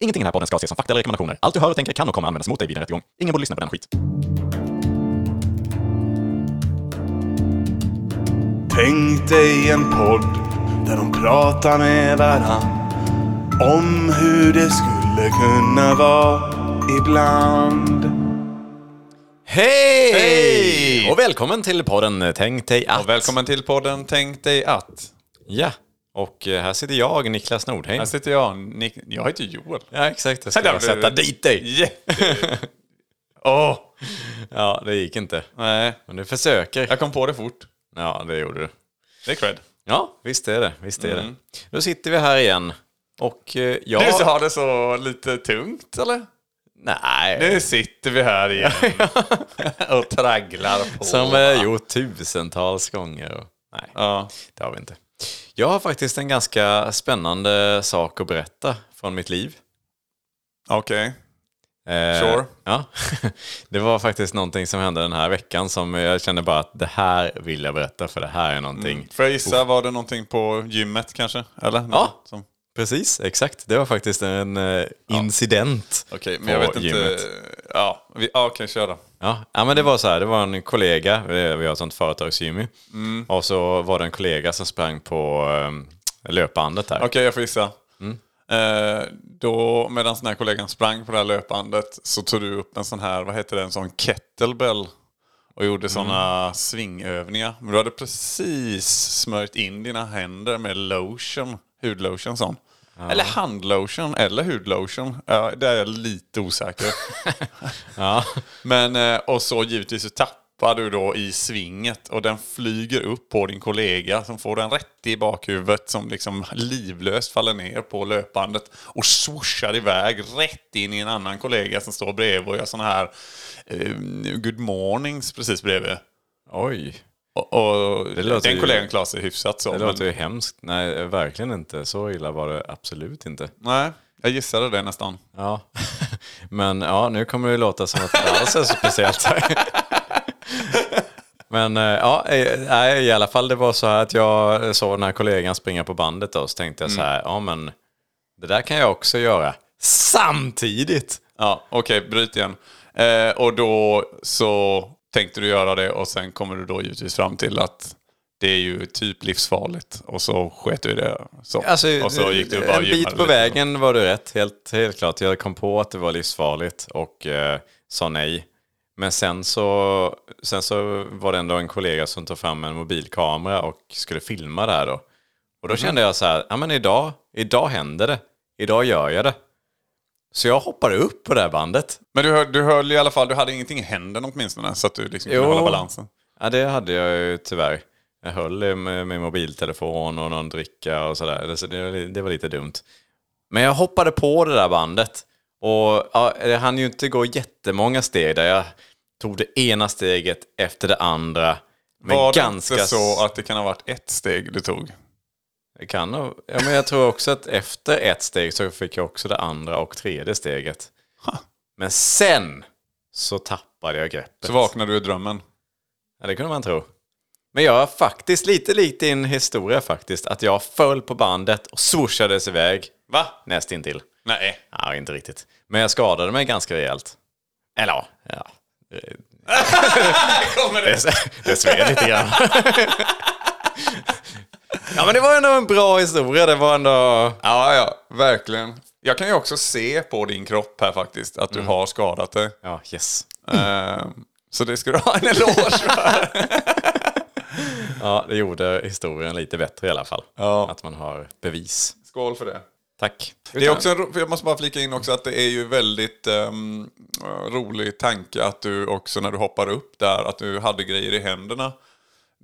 Ingenting i den här podden ska ses som fakta eller rekommendationer. Allt du hör och tänker kan och kommer användas mot dig vid en rättegång. Ingen borde lyssna på den skit. Tänk dig en podd där de pratar med varann om hur det skulle kunna vara ibland. Hej! Hej! Och välkommen till podden eh, Tänk dig att. Och välkommen till podden Tänk dig att. Ja, och eh, här sitter jag, Niklas Nordheim. Här sitter jag, Nick, jag heter Joel. Ja, exakt. Jag skulle Där jag blev sätta det. dit dig. Jätte... Åh! Ja, det gick inte. Nej, Men du försöker. jag kom på det fort. Ja, det gjorde du. Det är cred. Ja, visst är det. Visst är det. Nu sitter vi här igen. Och eh, jag... Mm. Du sa det så lite tungt, eller? Nej. Nu sitter vi här igen och tragglar på. Som jag gjort tusentals gånger. Och... Nej, Ja. det har vi inte. Jag har faktiskt en ganska spännande sak att berätta från mitt liv. Okej. Eh, Sure. Ja. Det var faktiskt någonting som hände den här veckan som jag kände bara att det här vill jag berätta för det här är någonting. Får jag gissa, var det någonting på gymmet kanske? Eller? Ja. Som... Precis, exakt. Det var faktiskt en eh, incident. Okej, men jag på vet inte. gymmet. Ja, vi... ja, okej, kör då. Ja, ja men det var så här, det var en kollega, eh, vi vi har ett sånt företagsgym ju. Mm. Och så var det en kollega som sprang på eh, löpbandet där. Okej, jag får gissa. Eh, då, medan den här kollegan sprang på det här löpandet så tog du upp en sån här, vad heter det, en sån kettlebell och gjorde såna svingövningar. Men du hade precis smörjt in dina händer med lotion, hudlotion sån. Eller handlotion eller hudlotion. Ja, det är jag lite osäker. Ja. Men, eh, och så givetvis så tappar du då i svinget och den flyger upp på din kollega som får den rätt i bakhuvudet som liksom livlöst faller ner på löpandet och swooshar iväg rätt in i en annan kollega som står bredvid och gör sådana här eh, good mornings precis bredvid. Oj, Och, och låter den ju- kollegan klarar sig hyfsat så. det men- låter ju hemskt. Nej, verkligen inte. Så illa var det absolut inte. Nej, jag gissade det nästan. Ja, men ja, nu kommer det låta som att det alls är så speciellt. Men eh, ja, eh, nej, i alla fall det var så här att jag såg den här kollegan springa på bandet då, och så tänkte jag så här, ja men det där kan jag också göra samtidigt. Ja, okej, bryt igen. Eh, och då så tänkte du göra det och sen kommer du då givetvis fram till att det är ju typ livsfarligt. Och så sket du i det. Så. Alltså, och så gick du bara och en gymmade bit på lite. vägen var du rätt, helt, helt klart. Jag kom på att det var livsfarligt och eh, sa nej. Men sen så, sen så var det ändå en kollega som tog fram en mobilkamera och skulle filma det här då. Och då kände jag så här, ja men idag, idag händer det. Idag gör jag det. Så jag hoppade upp på det här bandet. Men du höll, du höll i alla fall, du hade ingenting i händerna åtminstone så att du liksom kunde Jo. hålla balansen. Ja, det hade jag ju tyvärr. Jag höll i med min mobiltelefon och någon dricka och sådär. Det- Så det, var li- det var lite dumt. Men jag hoppade på det där bandet. Och ja, det hann ju inte gå jättemånga steg där. Jag tog det ena steget efter det andra. Men Var ganska... det inte så att det kan ha varit ett steg du tog? Det kan nog- ja, men jag tror också att efter ett steg så fick jag också det andra och tredje steget. Men sen så tappade jag greppet. Så vaknade du i drömmen. Ja, det kunde man tro. Men jag har faktiskt lite likt din historia faktiskt. Att jag föll på bandet och swooshades iväg. Va? Nästintill. Nej. Ja, inte riktigt. Men jag skadade mig ganska rejält. Eller ja, ja. Kommer det? det sved lite grann. ja, men det var ändå en bra historia. Det var ändå... Ja, ja, verkligen. Jag kan ju också se på din kropp här faktiskt att du Mm. har skadat dig. Ja, yes. Ehm, Så det ska du ha en eloge för. Ja, det gjorde historien lite bättre i alla fall. Ja. Att man har bevis. Skål för det. Tack. Det är också en, ro- för jag måste bara flika in också att det är ju väldigt ehm, rolig tanke att du också när du hoppar upp där, att du hade grejer i händerna.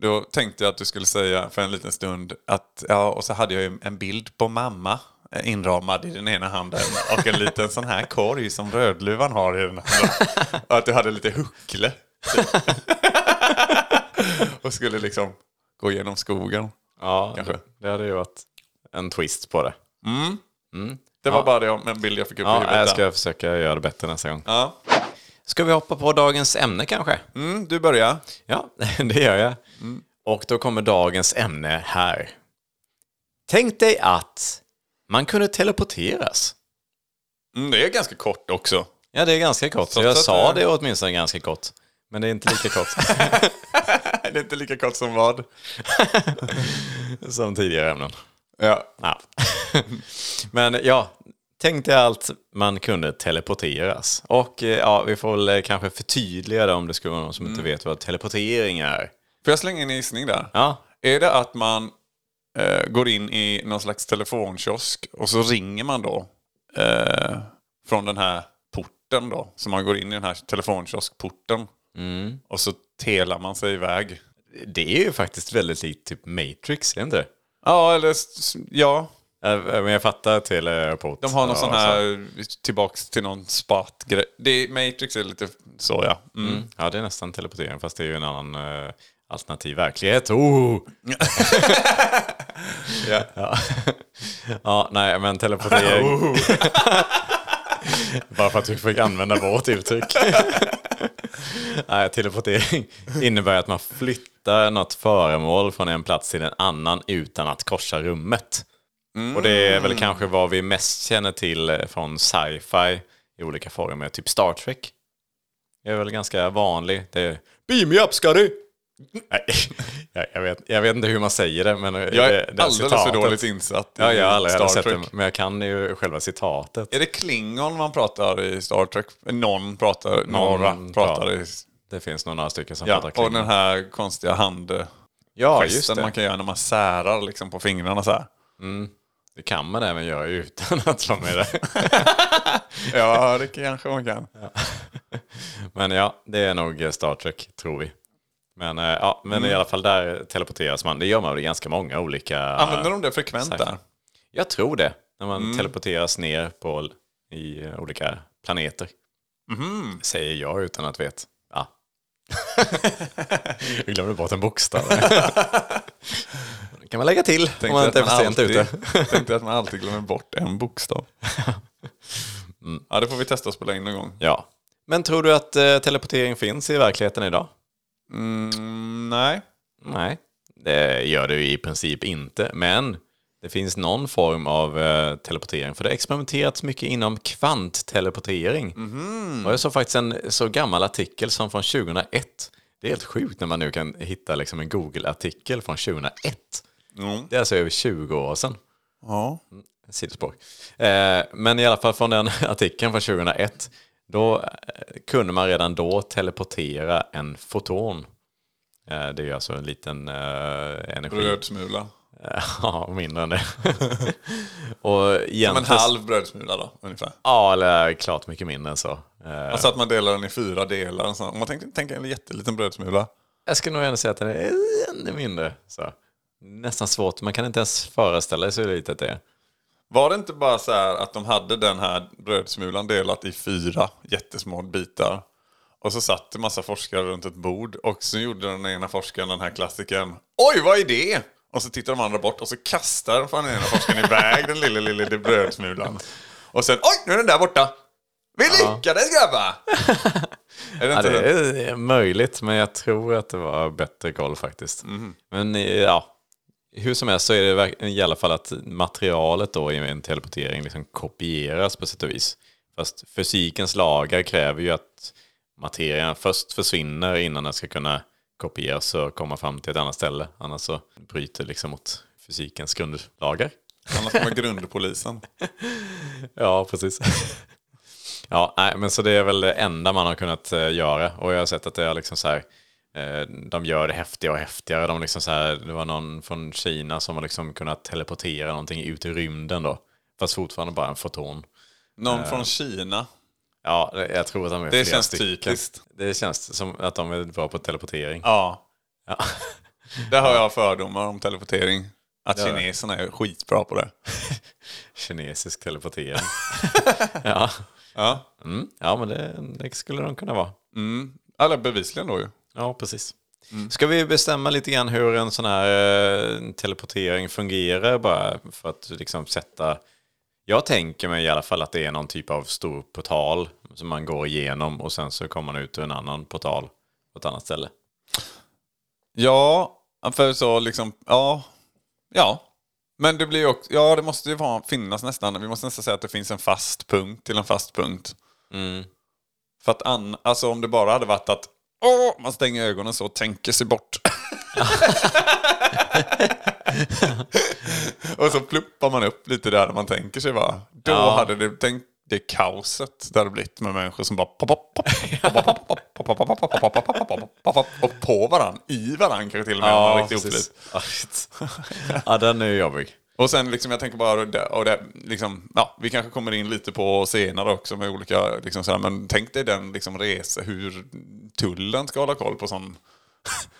Då tänkte jag att du skulle säga för en liten stund att, ja, och så hade jag ju en bild på mamma eh, inramad i den ena handen och en liten sån här korg som Rödluvan har i den andra. Och att du hade lite huckle. typ. och skulle liksom gå genom skogen. Ja, Kanske. det hade ju varit en twist på det. Det var bara det om en bild jag fick upp i Ja, huvudet. jag där. ska försöka göra det bättre nästa gång. Ja. Ska vi hoppa på dagens ämne kanske? Mm. Mm, du börjar. Ja, det gör jag. Och då kommer dagens ämne här. Tänk dig att man kunde teleporteras. Mm, det är ganska kort också. Ja, det är ganska kort. Så jag att- sa det åtminstone ganska kort. Men det är inte lika kort det är inte lika kort som vad. som tidigare ämnen. Ja. Ja. Men ja, tänk dig allt man kunde teleporteras. Och eh, ja, vi får väl eh, kanske förtydliga det om det skulle vara någon som inte Mm. vet vad teleportering är. Får jag slänga in en gissning där? Ja, Är det att man eh, går in i någon slags telefonkiosk och så ringer man då eh, från den här porten då? Så man går in i den här telefonkioskporten Mm. och så telar man sig iväg. det är ju faktiskt väldigt likt typ Matrix, är det inte det? Ja, eller s- ja. Eh, Men jag fattar teleport. De har någon Ja, sån här tillbaks till någon spat-grej. Det är- Matrix är lite så ja. Mm. Mm. Ja, det är nästan teleportering, fast det är ju en annan eh, alternativ verklighet. Oh! Ja. ja. ja, nej, men teleportering. Oh! Bara för att vi fick använda vårt uttryck. nej, teleportering innebär att man flyttar något föremål från en plats till en annan utan att korsa rummet. Och det är Mm. väl kanske vad vi mest känner till eh, från sci-fi i olika former, typ Star Trek. Det är väl ganska vanlig. Det är Beam me up, Scotty! Nej, jag- jag vet, jag vet inte hur man säger det, men eh, Jag är det, det alldeles citatet- för dåligt insatt i Ja, jag har aldrig heller Star sett det, Trek. men jag kan ju själva citatet. Är det Klingon man pratar i Star Trek? Någon pratar, några pratar. pratar i... Det finns nog några stycken som Ja, pratar och klingon. den här konstiga handgesten ja, just det. man kan göra när man särar liksom på fingrarna så här. Det kan man även göra utan att vara med det. Ja, det kanske man kan. Men ja, det är nog eh, Star Trek, tror vi. Men, eh, ja, men Mm. i alla fall där teleporteras man. Det gör man väl i ganska många olika... Använder de det frekvent Säkert. där? Jag tror det. När man Mm. teleporteras ner på, i eh, olika planeter. Mhm. Säger jag utan att vet. Ja. jag glömde bort en bokstav. Det kan man lägga till om man inte är för sent ute. alltid, tänkte att man alltid glömmer bort en bokstav. Mm. Ja, det får vi testa att spela in någon gång. Ja. Men tror du att eh, teleportering finns i verkligheten idag? Mm, nej. Nej, det gör det ju i princip inte. Men det finns någon form av eh, teleportering. För det har experimenterats mycket inom kvant-teleportering. Och jag såg faktiskt en så gammal artikel som från 2001. Det är helt sjukt när man nu kan hitta liksom en Google-artikel från 2001. Mm. Det är alltså över 20 år sedan Mm, Ja. sidospår. Eh, men i alla fall från den artikeln från 2001, då eh, kunde man redan då teleportera en foton. Eh, det är ju alltså en liten eh, energi. Röd smula. ja, mindre än det. och Som en egentligen... halv brödsmula då, ungefär. Ja, eller klart mycket mindre än så. Eh, Alltså att man delar den i fyra delar. och så. Om man tänker, tänker en jätteliten brödsmula. jag skulle nog ändå säga att den är ännu mindre. Så. Nästan svårt, man kan inte ens föreställa sig hur litet det är. Var det inte bara så här att de hade den här brödsmulan delat i fyra jättesmå bitar? Och så satt det massa forskare runt ett bord och så gjorde den ena forskaren den här klassiken. Oj, vad är det? Och så tittar de andra bort och så kastar fan den ena forskaren iväg den lilla, lilla brödsmulan. Och sen, oj, nu är den där borta. Vi lyckades grabbar! är det Ja, inte det det? är möjligt, men jag tror att det var bättre koll faktiskt. Men eh, ja, hur som helst så är det verk- i alla fall att materialet då i en teleportering liksom kopieras på sätt och vis. Fast fysikens lagar kräver ju att materian först försvinner innan den ska kunna kopieras och komma fram till ett annat ställe. Annars så bryter det liksom mot fysikens grundlagar. Annars kommer grundpolisen. Ja, precis. ja, nej, men så det är väl det enda man har kunnat eh, göra. Och jag har sett att det är liksom så här, eh, de gör det häftigare och häftigare. De liksom så här, det var någon från Kina som har liksom kunnat teleportera någonting ut i rymden då. Fast fortfarande bara en foton. Någon från Kina. Ja, det- jag tror att de är Det flera känns stycken. typiskt. Det känns som att de är bra på teleportering. Ja, Ja. där har jag fördomar om teleportering. Att Ja. kineserna är skitbra på det. Kinesisk teleportering. ja. Ja. Mm. ja, men det, det skulle de kunna vara. Mm. Eller bevisligen då ju. Ja, precis. Mm. Ska vi bestämma lite grann hur en sån här eh, teleportering fungerar bara för att liksom sätta... Jag tänker mig i alla fall att det är någon typ av stor portal som man går igenom och sen så kommer man ut ur en annan portal på ett annat ställe. Ja, för så liksom, ja. Ja. Men det blir ju också, ja det måste ju vara, finnas nästan, vi måste nästan säga att det finns en fast punkt till en fast punkt. För att an, alltså om det bara hade varit att åh, man stänger ögonen så och tänker sig bort. och så pluppar man upp lite där man tänker sig va. Då Ja. hade det, tänk det kaoset där det blivit med människor som bara pop, pop, pop, pop, pop, pop, pop, pop, pop, pop, pop, pop, pop, pop, pop, pop, och på varann, i varann kanske till och med. om man är riktigt opliv. precis. ja, den är ju jobbig. Och sen liksom, jag tänker bara, och det, och det, liksom, ja, vi kanske kommer in lite på senare också med olika, liksom, sådär, men tänk dig den liksom, resa, hur tullen ska hålla koll på sån.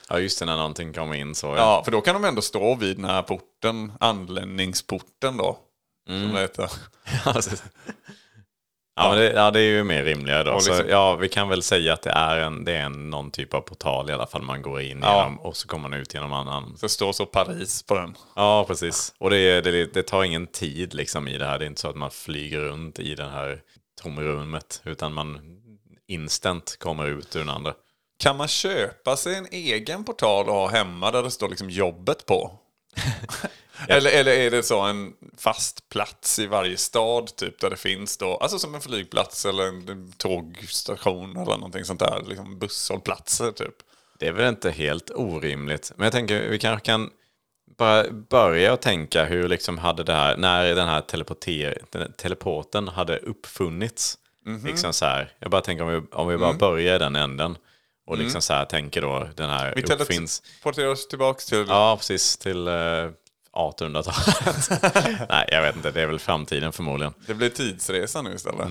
Ja, just det, när någonting kommer in så. Ja. Ja, för då kan de ändå stå vid den här porten, anländningsporten då. Som det heter. Ja, precis. Ja, men det, ja, det är ju mer rimliga då. Och liksom- så, ja, vi kan väl säga att det är, en, det är en, någon typ av portal i alla fall man går in Ja. genom och så kommer man ut genom annan. Så står så Paris på den. Ja, precis. Och det, är- det, det tar ingen tid liksom i det här. Det är inte så att man flyger runt i det här tomrummet utan man instant kommer ut ur den andra. Kan man köpa sig en egen portal och ha hemma där det står liksom jobbet på? eller, eller är det så en fast plats i varje stad typ där det finns då, alltså som en flygplats eller en tågstation eller någonting sånt där, liksom busshållplatser typ. Det är väl inte helt orimligt. Men jag tänker vi kanske kan bara börja och tänka hur liksom hade det här, när den här teleporter, den här teleporten hade uppfunnits. Liksom så här, jag bara tänker om vi, om vi bara börjar i den änden. Och liksom så här tänker då den här Vi uppfinns. teleporterar oss tillbaka till... Ja, precis till eh, 1800-talet. Nej, jag vet inte, det är väl framtiden förmodligen. Det blir tidsresa nu istället.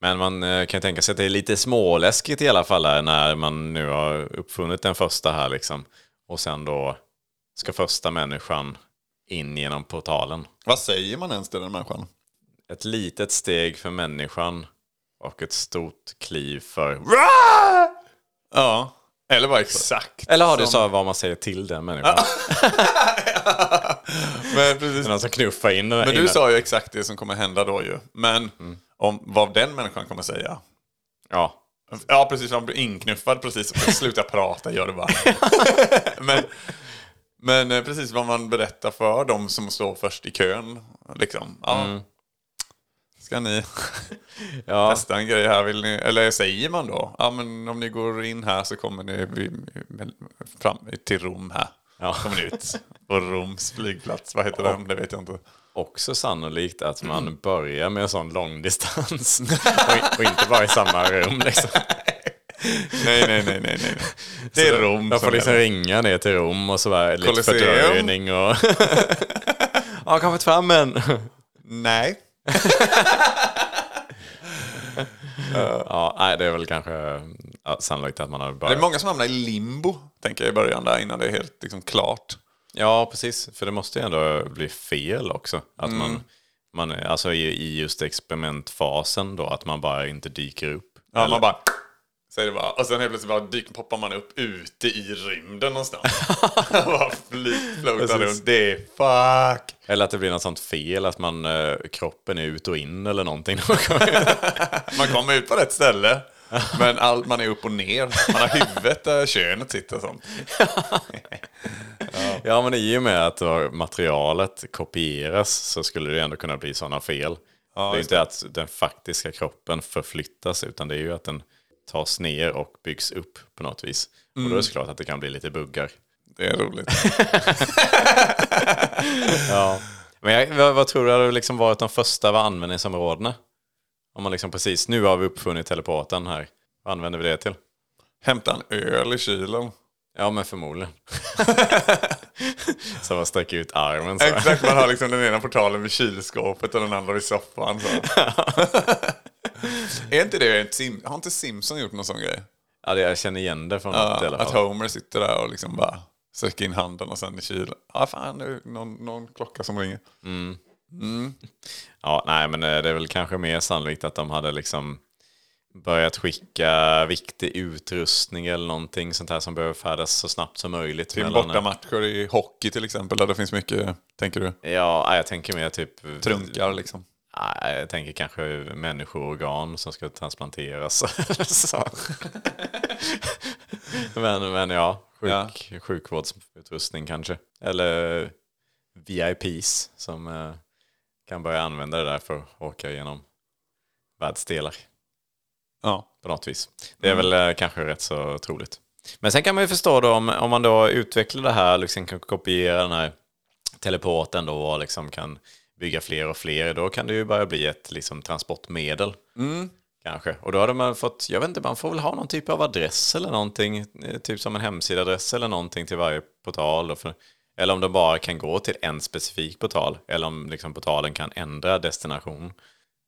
Men man eh, kan ju tänka sig att det är lite småläskigt i alla fall här, när man nu har uppfunnit den första här liksom. Och sen då ska första människan in genom portalen. Vad säger man ens till den människan? Ett litet steg för människan och ett stort kliv för... Ja, eller bara exakt. Eller har du som- Ah. sa vad man säger till den människan? Men precis. Någon som knuffar in den. Men du innan- sa ju exakt det som kommer hända då ju. Men Mm. om vad den människan kommer säga. Ja. Ja, precis. Han blir inknuffad precis. Sluta prata, gör det bara. men, men eh, precis vad man berättar för de som står först i kön. Liksom. Ja. Ska ni Mm. ja. testa en grej här? Vill ni? Eller säger man då? Ja, men om ni går in här så kommer ni vi- fram till Rom här. Ja. Kommer ni ut. Och Roms flygplats, vad heter den? Det vet jag inte. Också sannolikt att man Mm. börjar med en sån långdistans. och, och inte bara i samma rum liksom. Nej, nej, nej, nej, nej. Det Så är då- Rom Jag får som liksom gäller. ringa ner till Rom och så var det lite Colosseum. fördröjning och... ja, kommit fram än. Nej. ja, nej, det är väl kanske ja, sannolikt att man har Det börjat. är många som hamnar i limbo, tänker jag i början där, innan det är helt liksom, klart. ja, precis. För det måste ju ändå bli fel också. Att man, man, alltså i, i just experimentfasen då, att man bara inte dyker upp. Ja, Eller- man bara... Säger det bara. Och sen helt plötsligt bara dyk, poppar man upp ute i rymden någonstans. bara flyt, floatar Precis. runt. Det är fuck. Eller att det blir något sånt fel, att man, eh, kroppen är ut och in eller någonting. Man kommer ut på rätt ställe. Men allt man är upp och ner. Man har huvudet där könet sitter och sånt. Ja, men i och med att då materialet kopieras så skulle det ändå kunna bli sådana fel. det är just inte att den faktiska kroppen förflyttas utan det är ju att den tas ner och byggs upp på något vis. Och då är det såklart att det kan bli lite buggar. Det är roligt. Ja. Men jag, vad, vad tror du hade liksom varit de första vad användningsområdena? Om man liksom precis, nu har vi uppfunnit teleporten här. Vad använder vi det till? Hämta en öl i kylen. Ja, men förmodligen. så man sträcker ut armen så. här. Exakt, man har liksom den ena portalen vid kylskåpet och den andra vid soffan. Så. är inte det ett sim- Har inte Simpson gjort någon sån grej? Ja, det, jag känner igen det från något i alla att fall. Homer sitter där och liksom bara sträcker in handen och sen i kylen. Ja, ah, fan, nu är det någon, någon klocka som ringer. Ja, nej, men eh, det är väl kanske mer sannolikt att de hade liksom börjat skicka viktig utrustning eller någonting sånt här som behöver färdas så snabbt som möjligt. Till mellan- bortamatcher i hockey till exempel, där det finns mycket, tänker du, Ja, nej, jag tänker mer typ... trunkar liksom. Nej, jag tänker kanske människoorgan som ska transplanteras. så. men, men ja, sjuk, sjukvårdsutrustning kanske. Eller VIPs som eh, kan börja använda det där för att åka genom världsdelar Ja. på något vis. Det är väl eh, kanske rätt så troligt. Men sen kan man ju förstå då om, om man då utvecklar det här, liksom kan kopiera den här teleporten då och liksom kan bygga fler och fler, då kan det ju börja bli ett liksom transportmedel. Mm. Kanske. Och då hade man fått, jag vet inte, man får väl ha någon typ av adress eller någonting, eh, typ som en hemsidaadress eller någonting till varje portal. Då för, eller om de bara kan gå till en specifik portal, eller om liksom portalen kan ändra destination.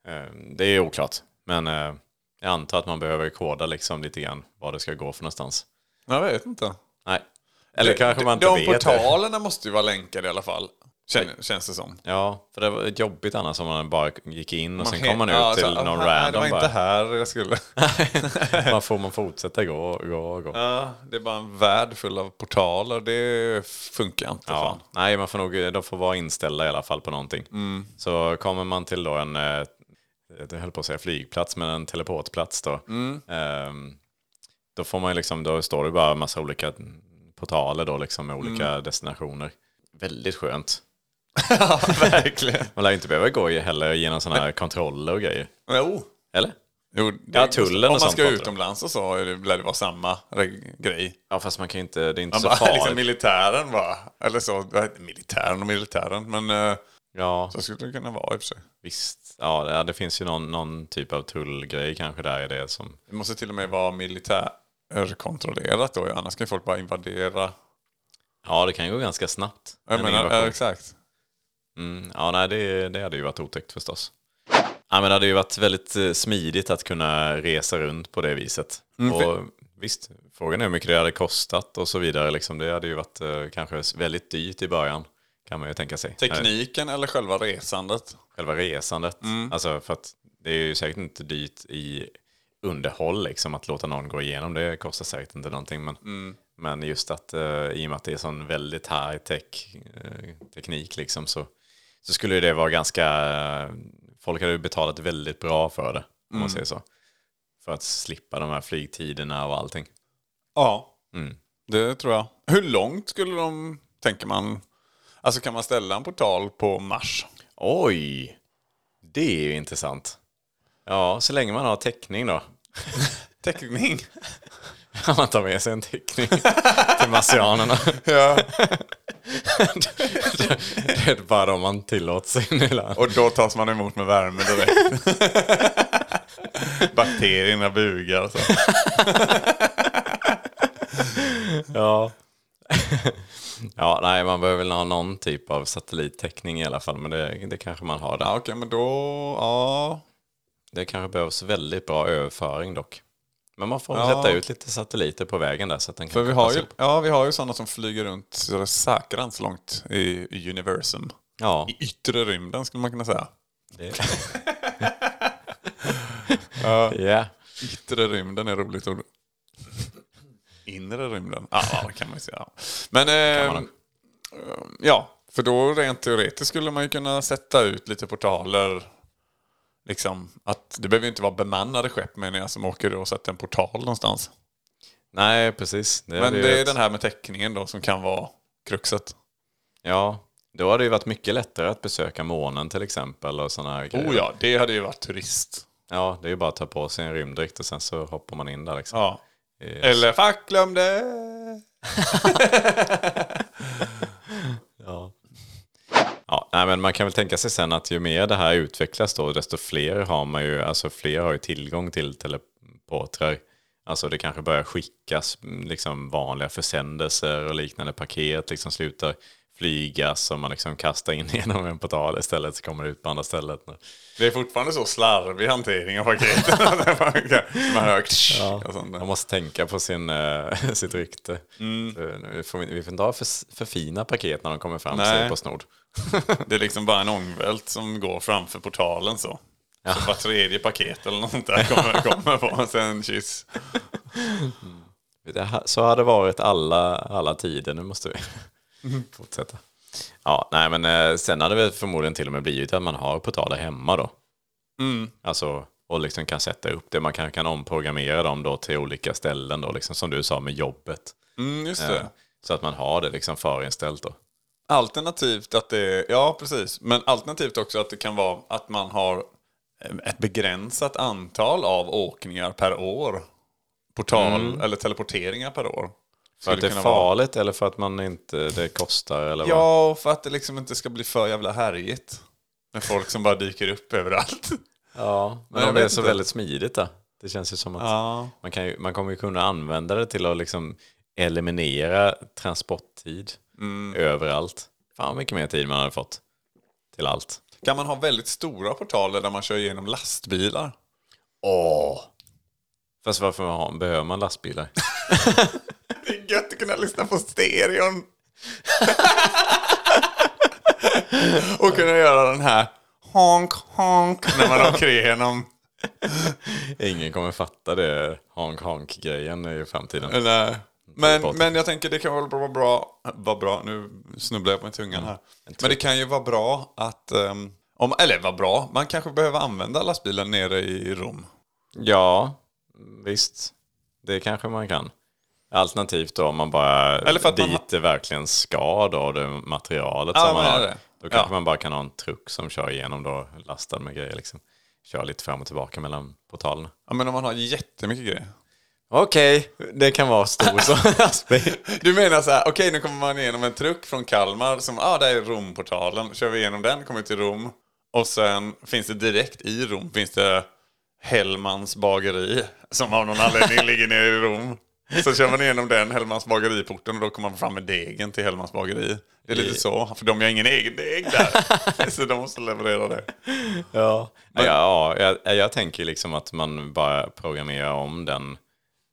Eh, Det är oklart, men eh, jag antar att man behöver koda liksom lite grann vad det ska gå för någonstans. Jag vet inte. Nej, eller kanske man inte de vet. portalerna måste ju vara länkade i alla fall. Känner, känns det som. Ja, för det var jobbigt annars om man bara gick in och sen he- kom man ut ja, till så, "Ah, någon Nej, det random var bara. inte här jag skulle. man får man fortsätta gå och gå och gå. Ja, det är bara en värld full av portaler. Det funkar inte. Ja, fan. nej, man får nog, de får vara inställda i alla fall på någonting. Mm. Så kommer man till då en, eh, jag höll på att säga flygplats, men en teleportplats då. Mm. Ehm, då får man ju liksom, då står det bara en massa olika portaler då liksom med olika Mm. destinationer. Väldigt skönt. Ja, verkligen. Man lär ju inte behöva gå i- heller genom sådana här kontroller och grejer. Jo. Eller? oh. Jo, det, Ja, tullen och Om man sånt ska pratar de. utomlands och så är det- lär det vara samma reg- grej. Ja, fast man kan ju inte, det är inte Man så bara, farligt. liksom militären bara. Eller så. Militären och militären. Men eh, ja, så skulle det kunna vara i och för sig. visst. Ja, det, ja, det finns ju någon, någon typ av tullgrej kanske där i det som... Det måste till och med vara militärkontrollerat då. Annars kan ju folk bara invadera. Ja, det kan ju gå ganska snabbt. Jag En menar, invasion. ja, exakt. Mm, ja, nej, det, det hade ju varit otäckt förstås. Ja, men det hade ju varit väldigt eh, smidigt att kunna resa runt på det viset. Mm, och, Visst, frågan är hur mycket det hade kostat och så vidare. Liksom, det hade ju varit eh, kanske väldigt dyrt i början, kan man ju tänka sig. Eh, Nej, Tekniken eller själva resandet? Själva resandet. Alltså, för att det är ju säkert inte dyrt i underhåll, liksom, att låta någon gå igenom. Det kostar säkert inte någonting. Men, men just att eh, i och med att det är sån väldigt high tech eh, teknik liksom, så så skulle ju det vara ganska... Folk hade ju betalat väldigt bra för det, om man säger så. För att slippa de här flygtiderna och allting. Ja, Mm. det tror jag. Hur långt skulle de, tänker man? Alltså kan man ställa en portal på Mars? Oj! Det är ju intressant. Ja, så länge man har täckning då. Täckning? man tar med sig en täckning till marsianerna. ja, det är bara om man tillåts in i land. och då tas man emot med värme direkt. Bakterierna bugar och så. Ja. ja, nej, man behöver väl ha någon typ av satellittäckning i alla fall. Men det, det kanske man har där. Ja, okej, men då... Ja. Det kanske behövs väldigt bra överföring dock. Men man får Ja. sätta ut lite satelliter på vägen där så att den kan För vi har kopplas ju, ihop. ja, vi har ju sådana som flyger runt så det är säkrans långt i universum. Ja, I yttre rymden skulle man kunna säga. det... Ja. Ja. Yttre rymden är roligt ord. Inre rymden? Ja, ja, det kan man ju säga. Men eh, man ja, för då rent teoretiskt skulle man ju kunna sätta ut lite portaler. Liksom, att det behöver ju inte vara bemannade skepp menar jag som åker och sätter en portal någonstans. Nej, precis. Det Men hade ju det är varit- den här med täckningen då som kan vara kruxet. Ja, då hade det ju varit mycket lättare att besöka månen till exempel och sådana här grejer. Oh ja, det hade ju varit turist. Ja, det är ju bara att ta på sig en rymddräkt och sen så hoppar man in där liksom. Ja. Eh, Eller fuck, glömde! Ja. Ja, nej, men man kan väl tänka sig sen att ju mer det här utvecklas då, desto fler har man ju, alltså fler har ju tillgång till teleportrar. Alltså det kanske börjar skickas mm, liksom vanliga försändelser och liknande paket, liksom slutar flygas och man liksom kastar in genom en portal istället så kommer det ut på andra stället. Det är fortfarande så slarvig hantering av paketen. man hör och sånt där. Man måste tänka på sin, eh, sitt rykte. Så nu får vi, vi får inte ha för, för fina paket när de kommer fram, Nej. säger Postnord. Det är liksom bara en ångvält som går framför portalen så. Så var tredje paket eller något sånt där kommer, kommer på oss en kyss. Det här, så har det varit alla, alla tider, nu måste vi fortsätta. Ja, nej men eh, sen hade det förmodligen till och med blivit att man har portaler hemma då. Alltså, och liksom kan sätta upp det, man kan, kan omprogrammera dem då till olika ställen då, liksom som du sa med jobbet. Mm, just det. Så att man har det liksom förinställt då. Alternativt att det är, ja precis, men alternativt också att det kan vara att man har eh, ett begränsat antal av åkningar per år. Portal eller teleporteringar per år. Mm. För att det är kunna vara- farligt eller för att man inte, det kostar eller vad? Ja, och för att det liksom inte ska bli för jävla härjigt. Med folk som bara dyker upp överallt. ja. Men jag om det är vet så inte. väldigt smidigt då. Det känns ju som att Ja. man, kan ju, man kommer ju kunna använda det till att liksom eliminera transporttid Mm. överallt. Fan mycket mer tid man hade fått till allt. Kan man ha väldigt stora portaler där man kör igenom lastbilar? Åh! Fast varför har- behöver man lastbilar? Det är gött att kunna lyssna på stereon. och kunna göra den här honk honk när man åker igenom. Ingen kommer fatta det honk honk-grejen i framtiden. Eller, men, men jag tänker det kan väl vara bra, vara bra, nu snubblar jag på min tungan här. Men det kan ju vara bra att, ehm, om, eller vara bra, man kanske behöver använda lastbilen nere i Rom. Ja, visst. Det kanske man kan. Alternativt då om man bara Eller för att man dit ha- det verkligen ska då, det materialet Ja, som man men har. det är det. Då kanske Ja. man bara kan ha en truck som kör igenom då, lastad med grejer liksom. Kör lite fram och tillbaka mellan portalerna. Ja men om man har jättemycket grejer. Okej, det kan vara stor som aspekt. Du menar så här, okej nu kommer man igenom en truck från Kalmar som, ja ah, där är Romportalen. Kör vi igenom den, kommer vi till Rom. Och sen finns det direkt i Rom, finns det Hellmans bageri som av någon anledning ligger nere i Rom. Så kör man igenom den Hellmans bageriporten och då kommer man fram med degen till Hellmans bageri. Det är lite så, för de har ingen egen deg där. så de måste leverera det. Ja, ja, ja jag, jag tänker liksom att man bara programmerar om den,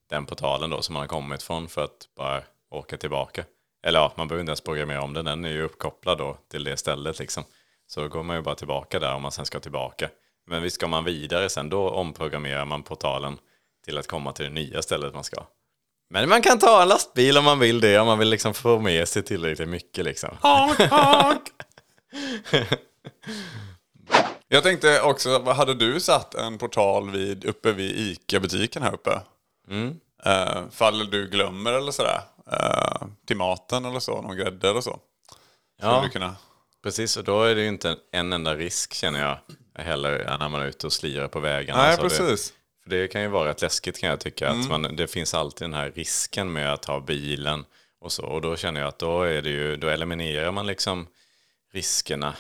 den portalen då som man har kommit från för att bara åka tillbaka. Eller ja, man behöver inte ens programmera om den, den är ju uppkopplad då till det stället liksom. Så går man ju bara tillbaka där om man sen ska tillbaka. Men visst ska man vidare sen, då omprogrammerar man portalen till att komma till det nya stället man ska. Men man kan ta en lastbil om man vill det, om man vill liksom få med sig tillräckligt mycket liksom. Jag tänkte också, vad hade du satt en portal vid, uppe vid ICA-butiken här uppe? Mm. fall du glömmer eller sådär. Eh, till maten eller så, någon grädde eller så. Skulle du kunna... Precis, och då är det ju inte en, en enda risk känner jag heller när man är ute och slirar på vägarna. Nej, Så Det, precis. Mm. för det kan ju vara rätt läskigt kan jag tycka. Att man, det finns alltid den här risken med att ha bilen och så. Och då känner jag att då, är det ju, då eliminerar man liksom riskerna.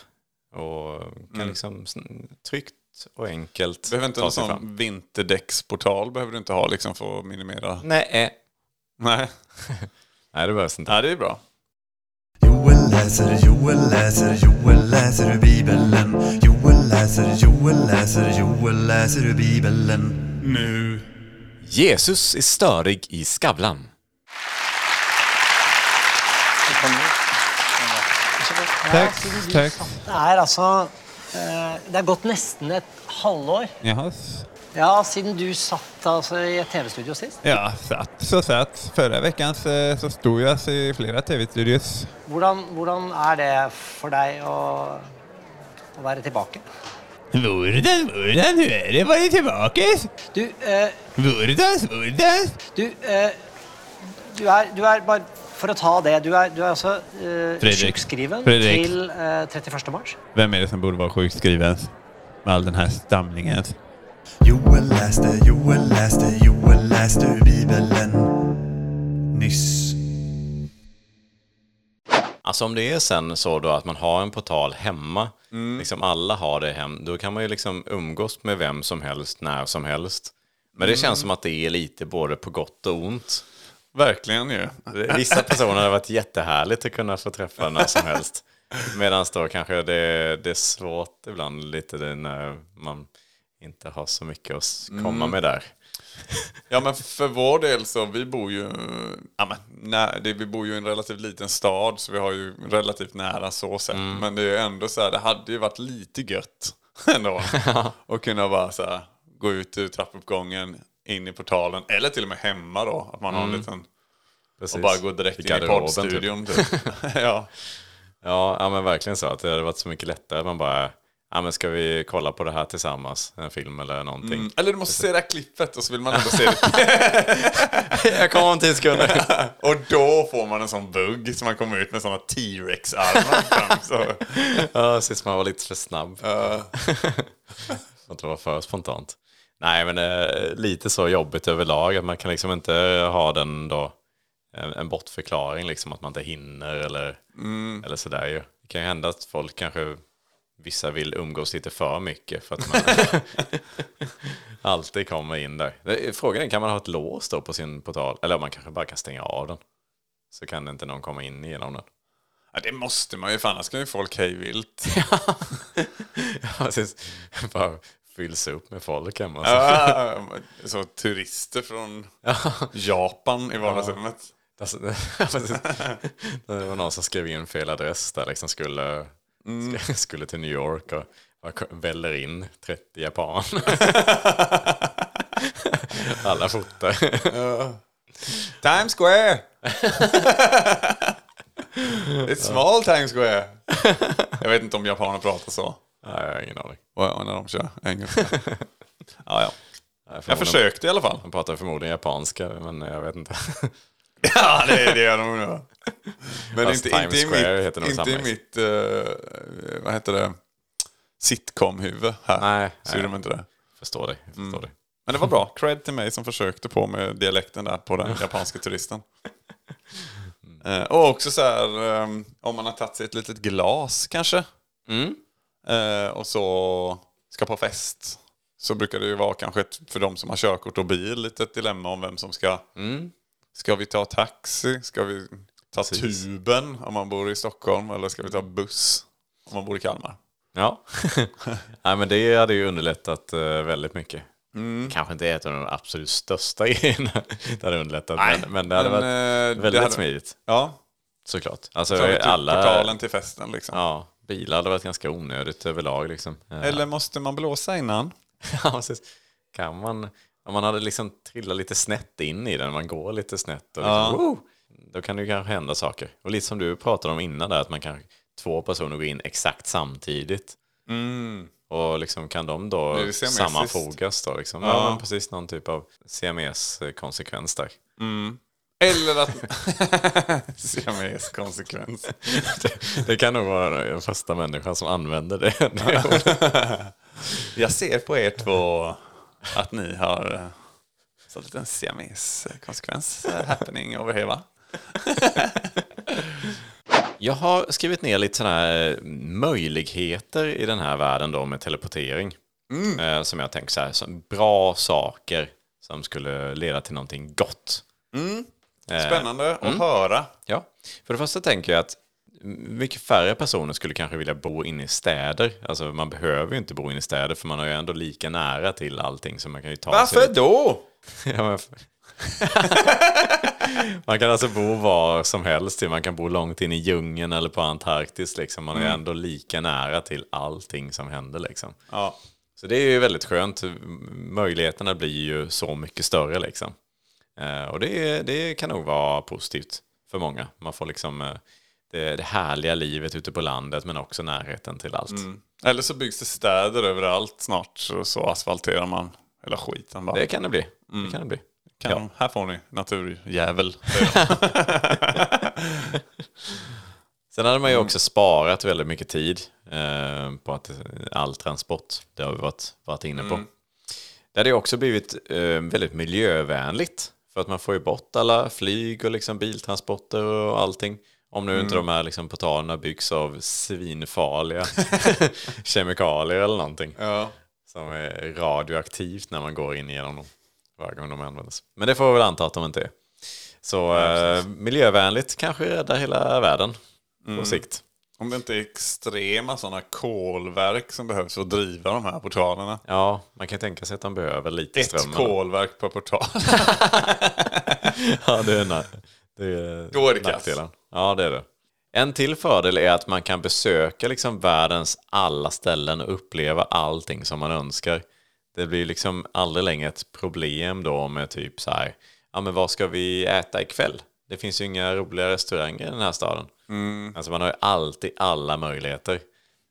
Och kan liksom sn- tryggt och enkelt Du Mm. behöver inte ta en sig sån fram. vinterdäcksportal behöver du inte ha liksom för att minimera. Nej, eh. Nej. Nej, det behövs inte. Nej, det är bra. Joel läser, Joel läser, Joel läser ur Bibeln. Joel läser, Joel läser, Joel läser ur Bibeln. Nu. Jesus är störig i Skavlan. Tack, tack. Det er altså eh, Det er gått nesten et halvår Jaha. ja, siden du satt altså, i et TV-studio sist. Ja, satt så satt. Förra veckan så, så stod jag alltså i flera tv-studios. Hvordan, hvordan er det for deg å, å være tilbake? Vurdens, vurdens, nu är det bara tillbaka. Du, eh, Vurdens, vurdens. du, eh, du, er, du er bare For å ta det. Du er, du er altså eh, Fredrik. sjukskriven Fredrik. til eh, 31. mars. Vem är det som borde vara sjukskriven? Med all den här stamlingen. Joel läste, Joel läste, Joel läste ur Bibeln. Nyss. Alltså om det är sen så då att man har en portal hemma, Mm. liksom alla har det hem, då kan man ju liksom umgås med vem som helst när som helst. Men det Mm. känns som att det är lite både på gott och ont. Verkligen ju. Vissa personer har varit jättehärligt att kunna få träffa när som helst. Medan då kanske det, det är svårt ibland lite det när man inte har så mycket att s- komma med där. Ja men för vår del så, vi bor ju, ja, men, nä, det, vi bor ju i en relativt liten stad så vi har ju relativt nära så sett. Mm. Men det är ju ändå så här, det hade ju varit lite gött ändå. och kunna bara så här, gå ut ur trappuppgången, in i portalen, eller till och med hemma då. Att man har en liten, och bara går direkt Mm. I in i garderoben, poddstudion. Typ. ja. Ja, ja, men verkligen så. Att det hade varit så mycket lättare. Man bara, ja, men ska vi kolla på det här tillsammans, en film eller någonting. Mm. Eller du måste se det här klippet och så vill man ändå se det. Jag kommer om tio sekunder. Och då får man en sån bugg som man kommer ut med såna T-Rex-armar fram. Så. Ja, sist man var lite för snabb. Så att det var för spontant. Nej, men eh, lite så jobbigt överlag. Att man kan liksom inte ha den då, en, en bortförklaring, liksom att man inte hinner eller, eller sådär ju. Det kan ju hända att folk kanske, vissa vill umgås lite för mycket för att man alltid kommer in där. Det är- Frågan är, kan man ha ett lås då på sin portal? Eller man kanske bara kan stänga av den. Så kan inte någon komma in genom den. Ja, det måste man ju, för annars kan ju folk hej vilt. Ja, precis. Bara fylls upp med folk hemma. så. Ah, så turister från Japan i vardagsrummet. Alltså, ja, precis. det var någon som skrev in fel adress där liksom skulle, skulle till New York och bara ko- väller in 30 japaner. Alla fotar. Times Square! It's small Times Square. Jag vet inte om japaner pratar så. Nej, jag har ingen aning. Wow, när de kör engelska. Ja, Nej, ja. Jag förmodligen- försökte i alla fall. De pratar förmodligen japanska, men jag vet inte. Ja, det, det gör de nog. Men Fast inte, Times inte i Square mitt, heter nog inte samma, i liksom. mitt eh, vad heter det, sitcom-huvud här. Nej, Så nej. gjorde de inte det. Förstår dig. Förstår dig. Men det var bra. Cred till mig som försökte på med dialekten där på den japanska turisten. Mm. Eh, och också så här, ehm, om man har tagit sig ett litet glas kanske. Mm. Eh, och så ska på fest. Så brukar det ju vara kanske ett, för de som har körkort och bil lite ett dilemma om vem som ska... Mm. Ska vi ta taxi? Ska vi ta tuben om man bor i Stockholm? Eller ska vi ta buss om man bor i Kalmar? Ja. Nej, men det hade ju underlättat eh, väldigt mycket. Mm. Kanske inte ett av de absolut största grejerna. Det hade underlättat, men, men det hade Men, varit eh, det väldigt hade- smidigt. Ja, Såklart. Alltså tar vi typ alla... portalen till festen liksom. Ja, bilar hade varit ganska onödigt överlag liksom. Eh, Eller måste man blåsa innan? ja, precis. kan man... Om man hade liksom trillat lite snett in i den, man går lite snett och liksom, Ja. wow, då kan det ju kanske hända saker. Och lite som du pratade om innan där, att man kanske två personer går in exakt samtidigt. Och liksom kan de Blir då Mm. det siamesiskt? sammanfogas då liksom? Ja. Ja. men precis någon typ av CMS-konsekvens där. Eller att... Siames konsekvens. Det kan nog vara den första människan som använder det. det ordet. Jag ser på er två att ni har eh, så en liten siames konsekvens eh, happening over here va? Jag har skrivit ner lite sådana här eh, möjligheter i den här världen då med teleportering. Eh, som jag tänker så här, som bra saker som skulle leda till någonting gott. Eh, Spännande att höra. Ja, för det första tänker jag att mycket färre personer skulle kanske vilja bo inne i städer. Alltså man behöver ju inte bo inne i städer för man har ju ändå lika nära till allting så man kan ju ta sig Varför dit. då? Ja, men f- man kan alltså bo var som helst. Man kan bo långt in i djungeln eller på Antarktis. Liksom. Man är ändå lika nära till allting som händer. Liksom. Ja. Så det är ju väldigt skönt. Möjligheterna blir ju så mycket större. Liksom. Eh, och det, det kan nog vara positivt för många. Man får liksom eh, det, det härliga livet ute på landet men också närheten till allt. Mm. Eller så byggs det städer överallt snart och så asfalterar man hela skiten bara. Det kan det bli. Det kan det bli. kan ja. de, här får ni naturjävel. Sen hade man ju också sparat väldigt mycket tid eh, på att all transport. Det har vi varit, varit inne på. Det hade ju också blivit eh, väldigt miljövänligt. För att man får ju bort alla flyg och liksom biltransporter och allting. Om nu inte de här liksom portalerna byggs av svinfarliga kemikalier eller någonting. Ja. Som är radioaktivt när man går in genom dem. Varje gång de används. Men det får vi väl anta att de inte är. Så eh, miljövänligt kanske räddar hela världen på sikt. Om det inte är extrema sådana kolverk som behövs för att driva de här portalerna. Ja, man kan tänka sig att de behöver lite Ett ström. kolverk per portal. Ja, det är, na- det är Då är det kass. nackdelen. Ja, det är det. En till fördel är att man kan besöka liksom världens alla ställen och uppleva allting som man önskar. Det blir liksom aldrig längre ett problem då med typ så här, ja men vad ska vi äta ikväll? Det finns ju inga roliga Mm. restauranger i den här staden. Alltså man har ju alltid alla möjligheter.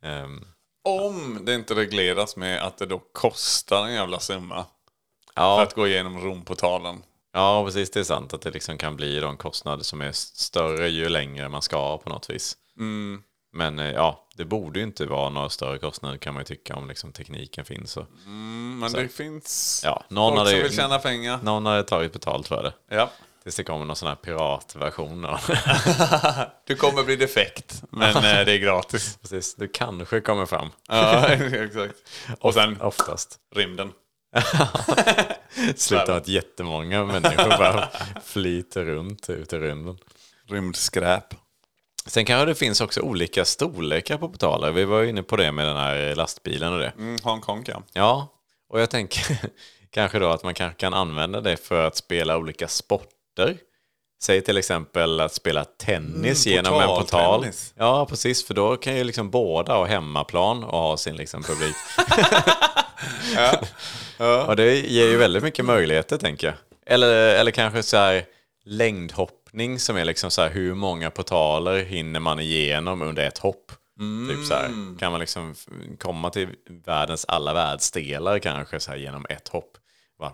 Ehm, Om det inte regleras med att det då kostar en jävla summa för Ja, att gå igenom Romportalen. Mm, ja, precis. Det är sant att det liksom kan bli de kostnader som är större ju längre man ska på något vis. Mm. Men eh, ja, det borde ju inte vara några större kostnader kan man ju tycka om liksom tekniken finns. Och, Men det finns ja, någon folk hade som ju- vill tjäna pengar. Någon hade tagit betalt för det. Ja. Tills det kommer någon sån här piratversion. av- Du kommer bli defekt, men eh, det är gratis. Precis, du kanske kommer fram. ja, exakt. Och sen Oftast. rymden. Slutar med att jättemånga människor bara flyter runt ut i rymden. Rymdskräp. Sen kanske det finns också olika storlekar på portaler. Vi var ju inne på det med den här lastbilen och det. Mm, Hongkong ja. Ja, och jag tänker kanske då att man kanske kan använda det för att spela olika sporter. Säg till exempel att spela tennis Mm, genom en portal. portaltennis. Ja, precis, för då kan ju liksom båda ha hemmaplan och ha sin liksom publik. Och det ger ju väldigt mycket möjligheter, tänker jag. Eller, eller kanske så här längdhoppning som är liksom så här hur många portaler hinner man igenom under ett hopp? Typ så Mm. här. Kan man liksom f- komma till världens alla världsdelar kanske så här genom ett hopp? Bara,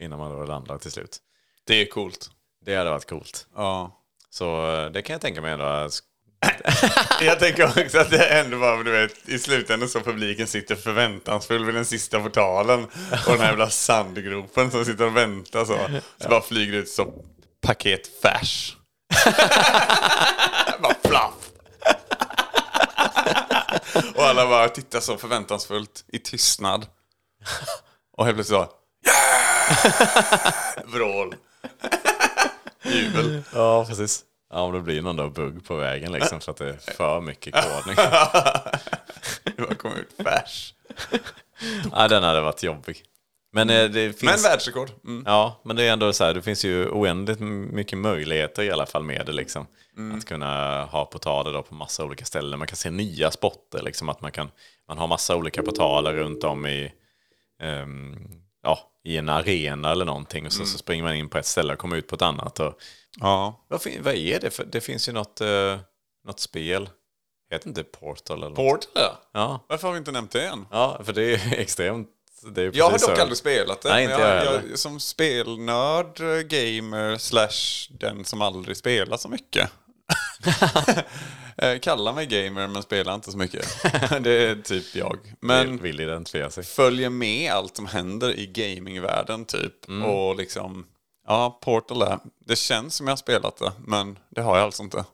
innan man då landar till slut. Det är coolt. Det hade varit coolt. Ja. Så eh, det kan jag tänka mig ändå. sk- Jag tänker också att det ändå bara, du vet, i slutändan så publiken sitter förväntansfull vid den sista portalen och den här jävla sandgropen som sitter och väntar så. Så bara flyger det ut som paket färs. bara flaff. och alla bara tittar så förväntansfullt i tystnad. Och helt plötsligt så... Yeah! Vrål. Jubel. Ja, precis. Ja, om det blir någon då bugg på vägen liksom så att det är för mycket kodning. Det bara kommer ut färs. Ja, den hade varit jobbig. Men eh, det finns... Men världsrekord. Mm. Ja, men det är ändå så här, det finns ju oändligt mycket möjligheter i alla fall med det liksom. Mm. Att kunna ha portaler då på massa olika ställen. Man kan se nya spotter liksom, att man kan, man har massa olika portaler runt om i, ehm, ja, i en arena eller någonting. Och Mm. så, så springer man in på ett ställe och kommer ut på ett annat. Och, Ja. vad, fin, vad är det för, det finns ju något, eh, något spel, heter inte Portal eller något? Portal ja. Varför har vi inte nämnt det än? ja, för det är ju extremt, det är ju Jag har precis dock så- aldrig spelat det. Nej, men inte jag jag, heller. Som spelnörd, eh, gamer, slash den som aldrig spelar så mycket. Eh, Kalla mig gamer men spelar inte så mycket. det är typ jag. Men vill identifiera sig. följer med allt som händer i gamingvärlden typ. Mm. Och liksom, ja, Portal är, det känns som jag har spelat det, men det har jag alltså inte.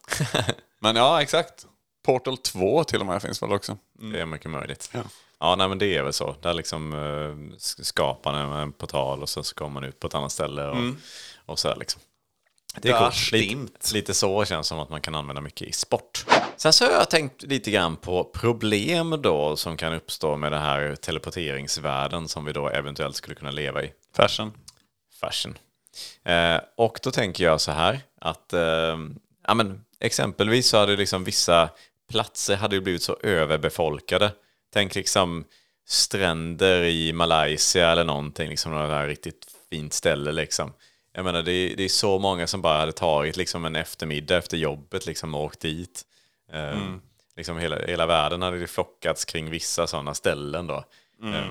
men ja, exakt. Portal 2 till och med finns väl också. Det är mycket möjligt. Mm. Ja. Ja, nej, men det är väl så. Där liksom eh, sk- skapar man en portal och sen så kommer man ut på ett annat ställe och, och så här liksom. Det är Mm. Där coolt. stimmt. Lite, lite så känns det som att man kan använda mycket i sport. Sen så har jag tänkt lite grann på problem då som kan uppstå med den här teleporteringsvärlden som vi då eventuellt skulle kunna leva i Fashion. fashion. Eh, och då tänker jag så här att eh, ja, men, exempelvis så hade liksom vissa platser hade ju blivit så överbefolkade. Tänk liksom stränder i Malaysia eller någonting, liksom något här riktigt fint ställe liksom. Jag menar det är, det är så många som bara hade tagit liksom en eftermiddag efter jobbet liksom och åkt dit. Eh, Liksom hela, hela världen hade ju flockats kring vissa sådana ställen då. Eh,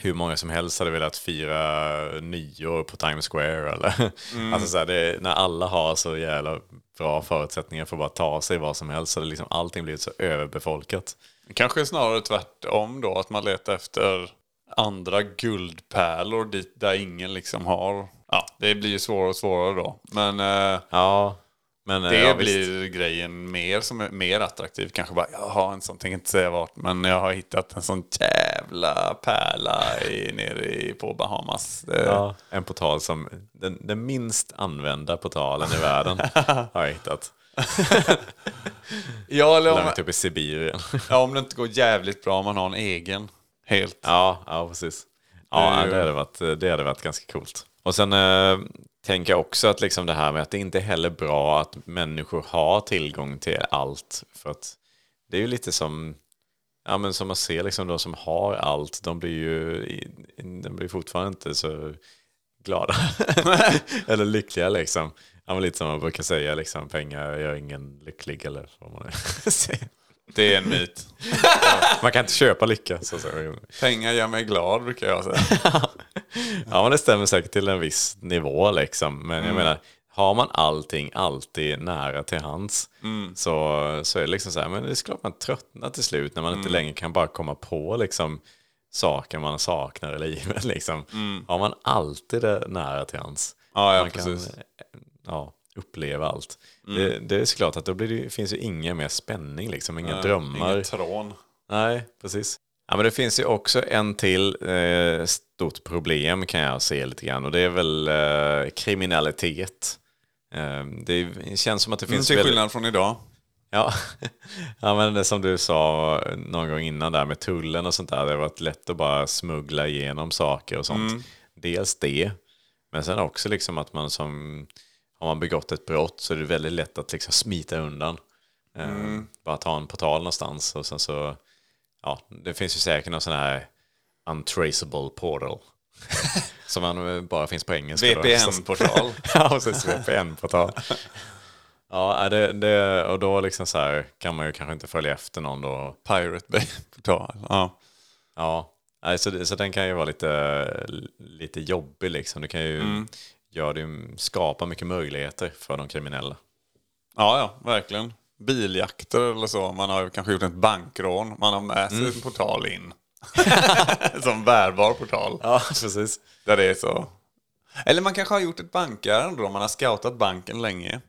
hur många som helst hade velat fira nyår på Times Square. Eller? Mm. Alltså så här, det, när alla har så jävla bra förutsättningar för att bara ta sig vad som helst så hade liksom allting blivit så överbefolkat. Kanske snarare tvärtom då, att man letar efter andra guldpärlor dit där ingen liksom har. Ja, det blir ju svårare och svårare då. Men eh, Ja, men eh, det ja, visst. blir grejen mer som är mer attraktiv. Kanske bara, jag har en sån, tänker inte säga vart, men jag har hittat en sån jävla pärla i, nere i, på Bahamas. Eh, Det, Ja, en portal som den, den minst använda portalen i världen har jag hittat. ja, eller om, Långt upp i Sibirien. ja, om det inte går jävligt bra om man har en egen. Helt. Ja, ja precis. Ja, ju- det hade, varit, det hade varit ganska coolt. Och sen eh, tänker jag också att liksom det här med att det inte är heller bra att människor har tillgång till allt. För att det är ju lite som, ja men som man ser liksom de som har allt, de blir ju i- de blir fortfarande inte så glada. eller lyckliga liksom. Ja, men lite som man brukar säga, liksom, pengar gör ingen lycklig eller vad man nu säger. Det är en myt. Man kan inte köpa lycka. Så att säga. Pengar gör mig glad brukar jag säga. Ja, men det stämmer säkert till en viss nivå liksom. Men Mm. jag menar, har man allting alltid nära till hands Mm. så, så är det liksom så här, men det är klart man tröttnar till slut när man Mm. inte längre kan bara komma på liksom saker man saknar i livet liksom. Har man alltid det nära till hands. Mm. Ja, ja, man kan, precis. Mm. eh, ja, uppleva allt. Det, det är såklart att då blir det, finns ju ingen mer spänning liksom, inga drömmar. Ingen trån. Nej, precis. Ja, men det finns ju också en till eh, stort problem kan jag se lite grann och det är väl eh, kriminalitet. Eh, det känns som att det Mm, finns till väldigt- skillnad från idag. Ja. ja, men det som du sa någon gång innan där med tullen och sånt där. Det har varit lätt att bara smuggla igenom saker och sånt. Dels det, men sen också liksom att man som har man begått ett brott så är det väldigt lätt att liksom smita undan. Eh, Bara ta en portal någonstans och sen så, ja, det finns ju säkert någon sån här untraceable portal. som man eh, bara finns på engelska. då. VPN-portal. Ja, precis. VPN-portal. Ja, är det, det, och då liksom så här, kan man ju kanske inte följa efter någon då. Pirate Bay-portal. Ja. Ja, nej, så, det- så den kan ju vara lite, lite jobbig liksom. Det kan ju Mm. göra det, skapa mycket möjligheter för de kriminella. ja, ja, verkligen. Biljakter eller så. Man har ju kanske gjort ett bankrån. Man har med sig en portal in. Som bärbar portal. Ja, precis. Där det är så. Eller man kanske har gjort ett bankärende då. Man har scoutat banken länge.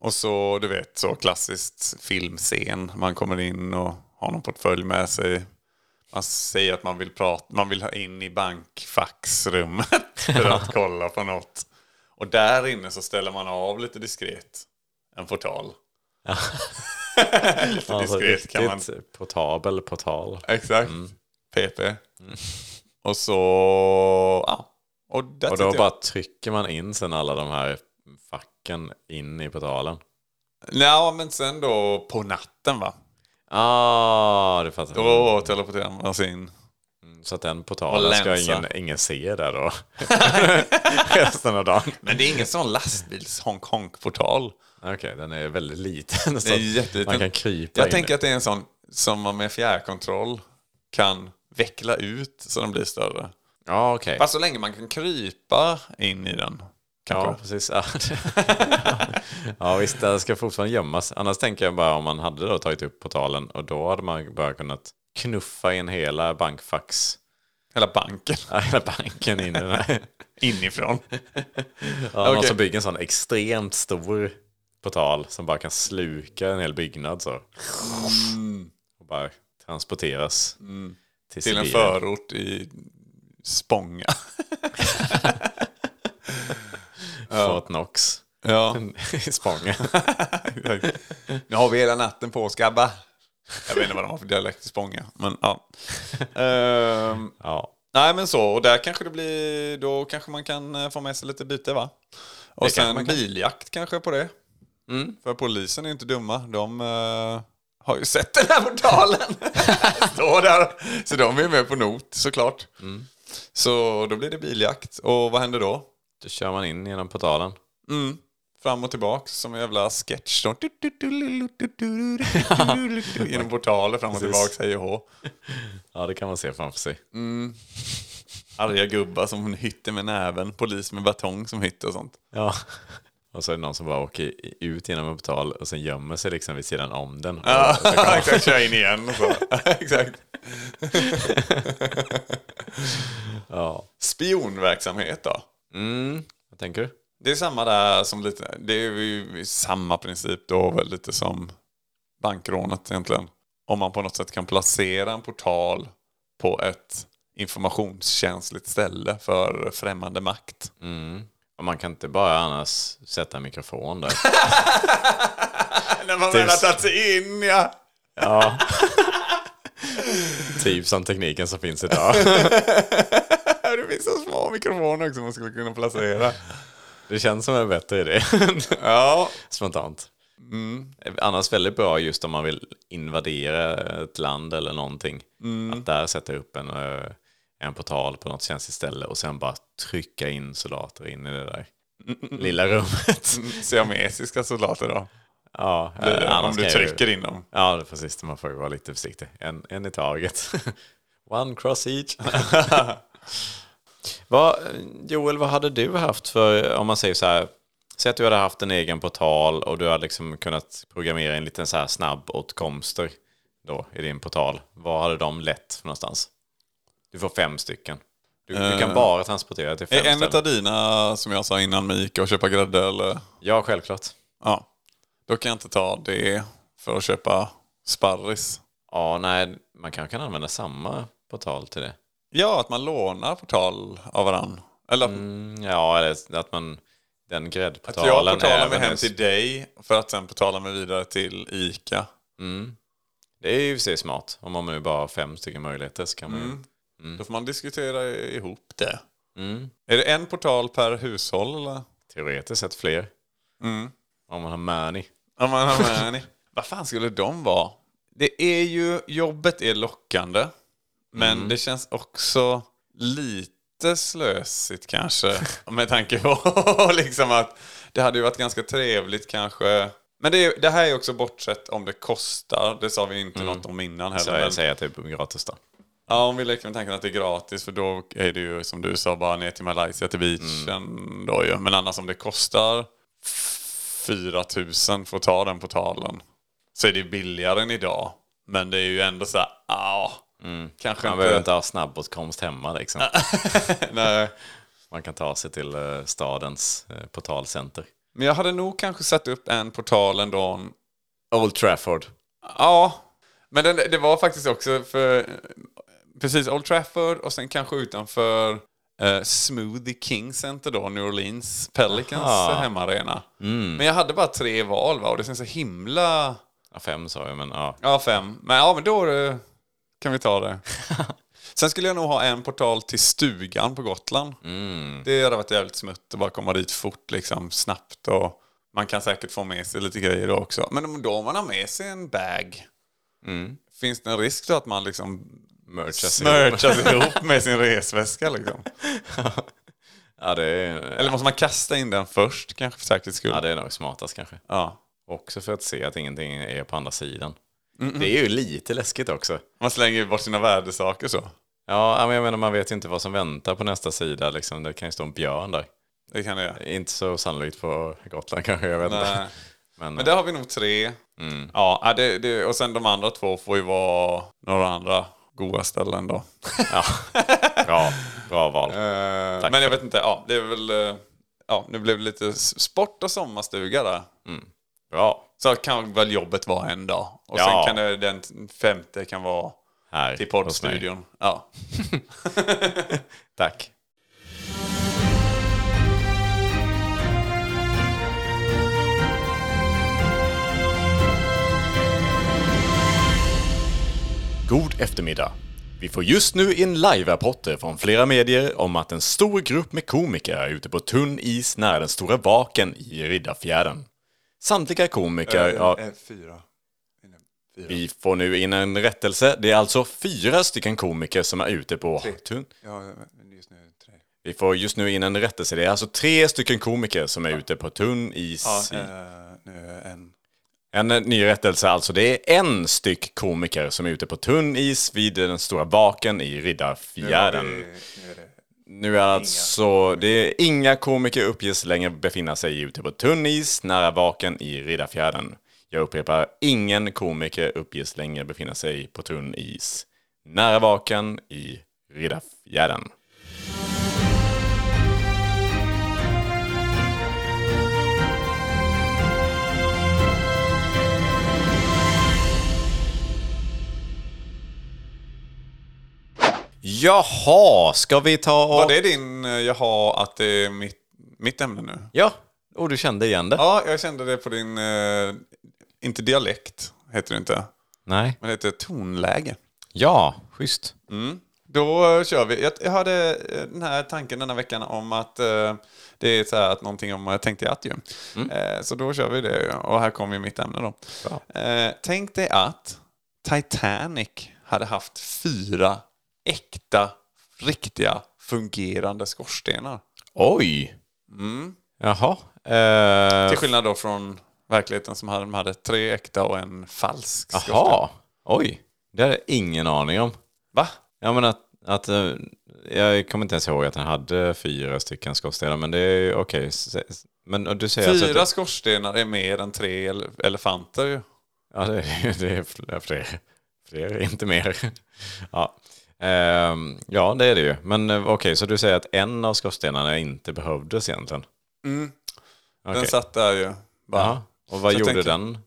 Och så, du vet, så klassiskt filmscen. Man kommer in och har någon portfölj med sig. Man säger att man vill, prata, man vill ha in i bankfaxrummet för att kolla på något. Och där inne så ställer man av lite diskret en portal. lite diskret kan man portabel portal. Exakt. Mm. PP. Och så... Ja. Och, där Och tyckte då jag- bara trycker man in sen alla de här facken in i portalen. Ja, men sen då på natten va? Ah, du fattar. Då teleporterar man sig in. Så att den Och portalen ska länsa. ingen, ingen se där då. Resten av dagen. Men det är ingen sån lastbils honk honk portal. Okej, den är väldigt liten. Så Den är att jätteliten. Man kan krypa Jag in. tänker att det är en sån som man med fjärrkontroll kan veckla ut så den blir större. Ja, okej. Fast så länge man kan krypa in i den. Kanske. Ja, precis. Ja, ja, visst. Den ska fortfarande gömmas. Annars tänker jag bara om man hade då tagit upp portalen och då hade man bara kunnat knuffa in hela bankfax. Hela banken. Ja, Hela banken in i den här. Inifrån. Ja, Någon som bygger en sån extremt stor portal som bara kan sluka en hel byggnad så. Och bara transporteras till, Mm. Till en Sibirien. förort i Spånga. Fort Knox. Ja. I Spånga. Nu har vi hela natten på oss, grabbar. Jag vet inte vad de har för dialekt i Spånga. Men, ja. Ehm, Ja. nej men så, och där kanske det blir, då kanske man kan eh, få med sig lite byte va? Och sen biljakt kanske på det. För polisen är inte dumma, de eh, har ju sett den här portalen. Står där. Så de är med på not såklart. Så då blir det biljakt, och vad händer då? Då kör man in genom portalen. Fram och tillbaka som en jävla sketch. då. Genom portaler fram och tillbaka, hej och hå. Ja, det kan man se framför sig. Arga gubbar som hytter med näven, polis med batong som hytter och sånt. Ja. Och så är det någon som bara åker i- ut genom en portal och sen gömmer sig liksom vid sidan om den. Ja, exakt. Kör in igen och så. Ah. exakt. ja. Spionverksamhet då? Mm. Vad tänker du? Det är samma där som lite, det är ju samma princip då väl lite som bankrånet egentligen. Om man på något sätt kan placera en portal på ett informationskänsligt ställe för främmande makt. Och man kan inte bara annars sätta en mikrofon där. När man väl har tagit sig in ja. typ som tekniken som finns idag. Det finns så små mikrofoner också man skulle kunna placera. Det känns som en bättre idé. Ja, Mm. Spontant. Annars väldigt bra just om man vill invadera ett land eller någonting. Mm. Att där sätta upp en, eh, en portal på något känsligt ställe och sen bara trycka Mm. in soldater in i det där lilla rummet. siamesiska soldater då. Ja, eh, blir Mm. det, Eh, om annars du kan jag ju- trycker in dem. Eh, Ja, det är precis. Man får ju vara lite försiktig. En, en i taget. One cross each. vad, Joel, vad hade du haft för, om man säger så här, säg att du hade haft en egen portal och du hade liksom kunnat programmera en liten så här snabbåtkomster då i din portal. Vad hade de lett för någonstans? Du får fem stycken. Du, du kan Eh, bara transportera till fem Är en ställen. av dina, som jag sa innan, med Ica och köpa grädde eller? Ja, självklart. Ja. Då kan jag inte ta det för att köpa sparris. Ja, nej, man kanske kan använda samma portal till det. Ja, att man lånar portal av varann. Eller att- Mm, ja, eller att man... Den att gräddportalen... jag portalar även mig hem är- till dig för att sen portala mig vidare till Ica. Mm. Det är ju i och för sig smart. Om man nu bara har fem stycken möjligheter så kan man Mm. ju... Då får man diskutera ihop det. Mm. Är det en portal per hushåll eller? Teoretiskt sett fler. Mm. Om man har money. Ja, men, ja, men, ni- Vad fan skulle de vara? Det är ju, jobbet är lockande. Men det känns också lite slösigt kanske. Med tanke på liksom att det hade ju varit ganska trevligt kanske. Men det, är, det här är också bortsett om det kostar. Det sa vi inte något om innan Så heller. men- jag säger typ gratis då. Ja, om vi leker med tanken att det är gratis för då är det ju som du sa bara ner till Malaysia till beachen. Då ju. Men annars om det kostar 4000 för att ta den portalen så är det billigare än idag. Men det är ju ändå så här, ah, kanske Man behöver inte ha snabbåtkomst hemma liksom. Nej. Man kan ta sig till eh, stadens eh, portalcenter. Men jag hade nog kanske satt upp en portal ändå. Old Trafford. Ja, men den, det var faktiskt också för precis Old Trafford och sen kanske utanför eh, Smoothie King Center då, New Orleans Pelicans Aha. hemmaarena. Men jag hade bara tre val va? och det känns så himla... Ja, fem sa jag, men ja. Ja, fem. Men ja, men då eh, kan vi ta det. Sen skulle jag nog ha en portal till stugan på Gotland. Mm. Det hade varit jävligt smutt att bara komma dit fort, liksom snabbt. Och man kan säkert få med sig lite grejer då också. Men om då man har med sig en bag, finns det en risk då att man liksom Mm. Merchas ihop. smörjas ihop med sin resväska? Liksom? Ja, det är, Eller måste man kasta in den först kanske för säkerhets skull? ja, det är nog smartast kanske. Ja. Också för att se att ingenting är på andra sidan. Det är ju lite läskigt också. Man slänger ju bort sina värdesaker så. Ja, ja, men jag menar man vet ju inte vad som väntar på nästa sida. Liksom. Det kan ju stå en björn där. Det kan det göra. Inte så sannolikt på Gotland kanske, jag vet Nej. inte. Men, Men där har vi nog tre. Ja, ja, det, det, och sen de andra två får ju vara några andra goda ställen då. ja. bra, bra val. Eh, Tack men jag för vet inte, ja, det är väl... eh, Ja, nu blev det lite s- sport och sommarstuga där. Bra, Så kan väl jobbet vara en dag. Och Ja. sen kan det, den t- femte kan vara här till hos mig. poddstudion. Ja. Tack. God eftermiddag. Vi får just nu in live-rapporter från flera medier om att en stor grupp med komiker är ute på tunn is nära den stora vaken i Riddarfjärden. Samtliga komiker... ja, fyra. vi får nu in en rättelse. Det är alltså fyra stycken komiker som är ute på... tunn- Ja, just nu tre. vi får just nu in en rättelse. Det är alltså tre stycken komiker som är ute på tunn is. i- nu en. En eh, ny rättelse alltså. Det är en styck komiker som är ute på tunn is vid den stora vaken i Riddarfjärden. Nu är alltså... Det är inga komiker uppges längre befinna sig ute på tunn is nära vaken i Riddarfjärden. Jag upprepar, ingen komiker uppges längre befinna sig på tunn is nära vaken i Riddarfjärden. Jaha, ska vi ta och... Var det din, eh, jaha, att det är mitt, mitt ämne nu? Ja, och du kände igen det? Ja, jag kände det på din, eh, inte dialekt heter det inte, Nej. men det heter tonläge. Ja, schysst. Då eh, kör vi. Jag, jag hade eh, den här tanken den här veckan om att eh, det är så här att någonting om eh, tänkte jag att ju. Mm. Eh, så då kör vi det och här kommer ju mitt ämne då. Eh, tänk dig att Titanic hade haft fyra äkta, riktiga, fungerande skorstenar. Oj! Jaha. Till Eh, skillnad då från, vad Verkligheten som hade, de hade tre äkta och en falsk skorsten. Jaha, oj. Det hade jag ingen aning om. Va? Ja, men att, att, eh, jag kommer inte ens ihåg att han hade fyra stycken skorstenar, men det är okej. S- s- Men och du säger alltså att Fyra det, skorstenar är mer än tre ele- elefanter ju. ja, det, är- det är fl- fler, fler, inte mer. Ja. Ehm, ja, det är det ju. Men eh, okej, så du säger att en av skorstenarna inte behövdes egentligen? Mm. Den Okej. satt där ju. Bara. Jaha. Och vad Så jag gjorde tänker- den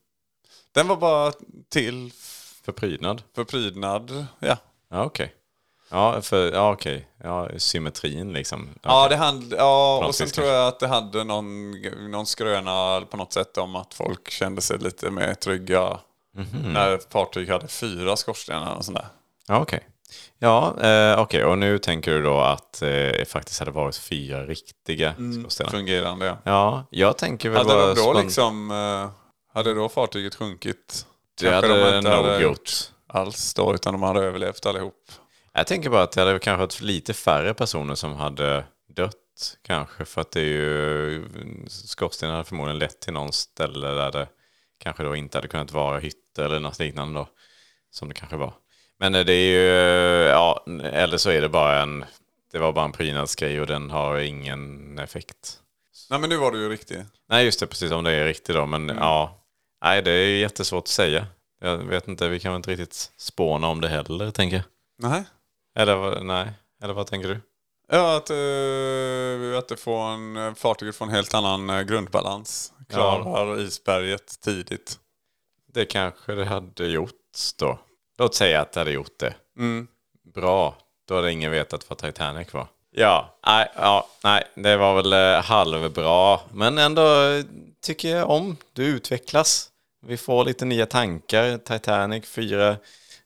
Den var bara till för prydnad? för prydnad. Ja, Ja, okej. Ja, för, ja, okej. Ja, symmetrin liksom. ja, Okej. det hand, ja och Francis sen tror jag att det hade någon, någon skröna på något sätt om att folk kände sig lite mer trygga när ett fartyg hade fyra skorstenar och sådär. Ja, okej. Ja, eh, okej. Och nu tänker du då att eh, det faktiskt hade varit fyra riktiga skorstenar. Fungerande ja. Ja, jag tänker väl Mm. Hade bara... de då span- liksom, eh, hade då fartyget sjunkit? Det Kanske hade de de inte nog hade gjort. alls då, utan de hade överlevt allihop. Jag tänker bara att det hade kanske varit lite färre personer som hade dött. Kanske för att det är ju... Skorstenen hade förmodligen lett till någon ställe där det kanske då inte hade kunnat vara hytter eller något liknande då. Som det kanske var. Men eh, det är ju... Ja, eller så är det bara en... Det var bara en prydnadsgrej och den har ingen effekt. Nej men nu var du ju riktig. Nej, just det. Precis, om det är riktigt då. Men ja, nej, det är jättesvårt att säga. Jag vet inte, vi kan väl inte riktigt spåna om det heller, tänker jag. Nej. Eller, vad- nej. Eller vad tänker du? Ja, att, eh, att det får en, fartyget får en helt annan eh, grundbalans. Klarar isberget tidigt. Det kanske det hade gjort då. Låt säga att det hade gjort det. Mm. Bra, då hade ingen vetat vad Titanic var. Ja, nej, ja, nej det var väl eh, halvbra. Men ändå eh, tycker jag om. Du utvecklas. Vi får lite nya tankar. Titanic, fyra...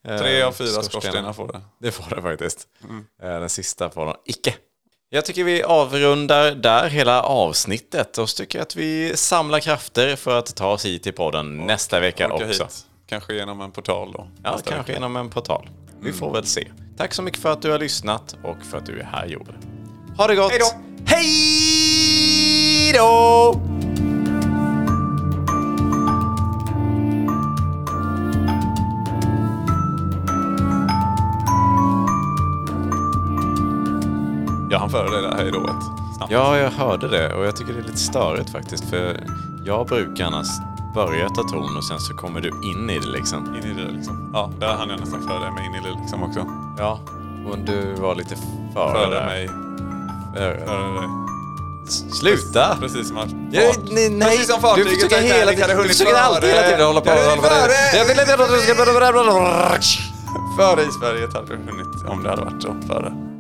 eh, Tre av fyra skorstenar får det. Det får det faktiskt. Mm. Eh, Den sista får den icke. Jag tycker vi avrundar där hela avsnittet och så tycker jag att vi samlar krafter för att ta oss hit till podden nästa vecka Åka också. hit. Kanske genom en portal då. Ja, Nästa kanske vecka. Mm. genom en portal. Vi får väl se. Tack så mycket för att du har lyssnat och för att du är här, Joel. Ha det gott! Hej då! Hej då! Jag hann före dig där hejdået. Snabbt. Ja, jag hörde det och jag tycker det är lite störigt faktiskt för jag brukar annars börja ta ton och sen så kommer du in i det liksom. In i det liksom. Ja, där hann jag nästan före dig med in i det liksom också. Ja, och du var lite före, Före där. mig. Före. Före dig. Sluta! Precis som att... Jag, nej, nej. Precis som fartyget du försöker Titanic hela hade tiden, du hunnit försöker alltid hela tiden hålla på Jag hade hålla på hunnit det. före. Jag vill inte att du ska... Före isberget hade du hunnit om det hade varit så. Före.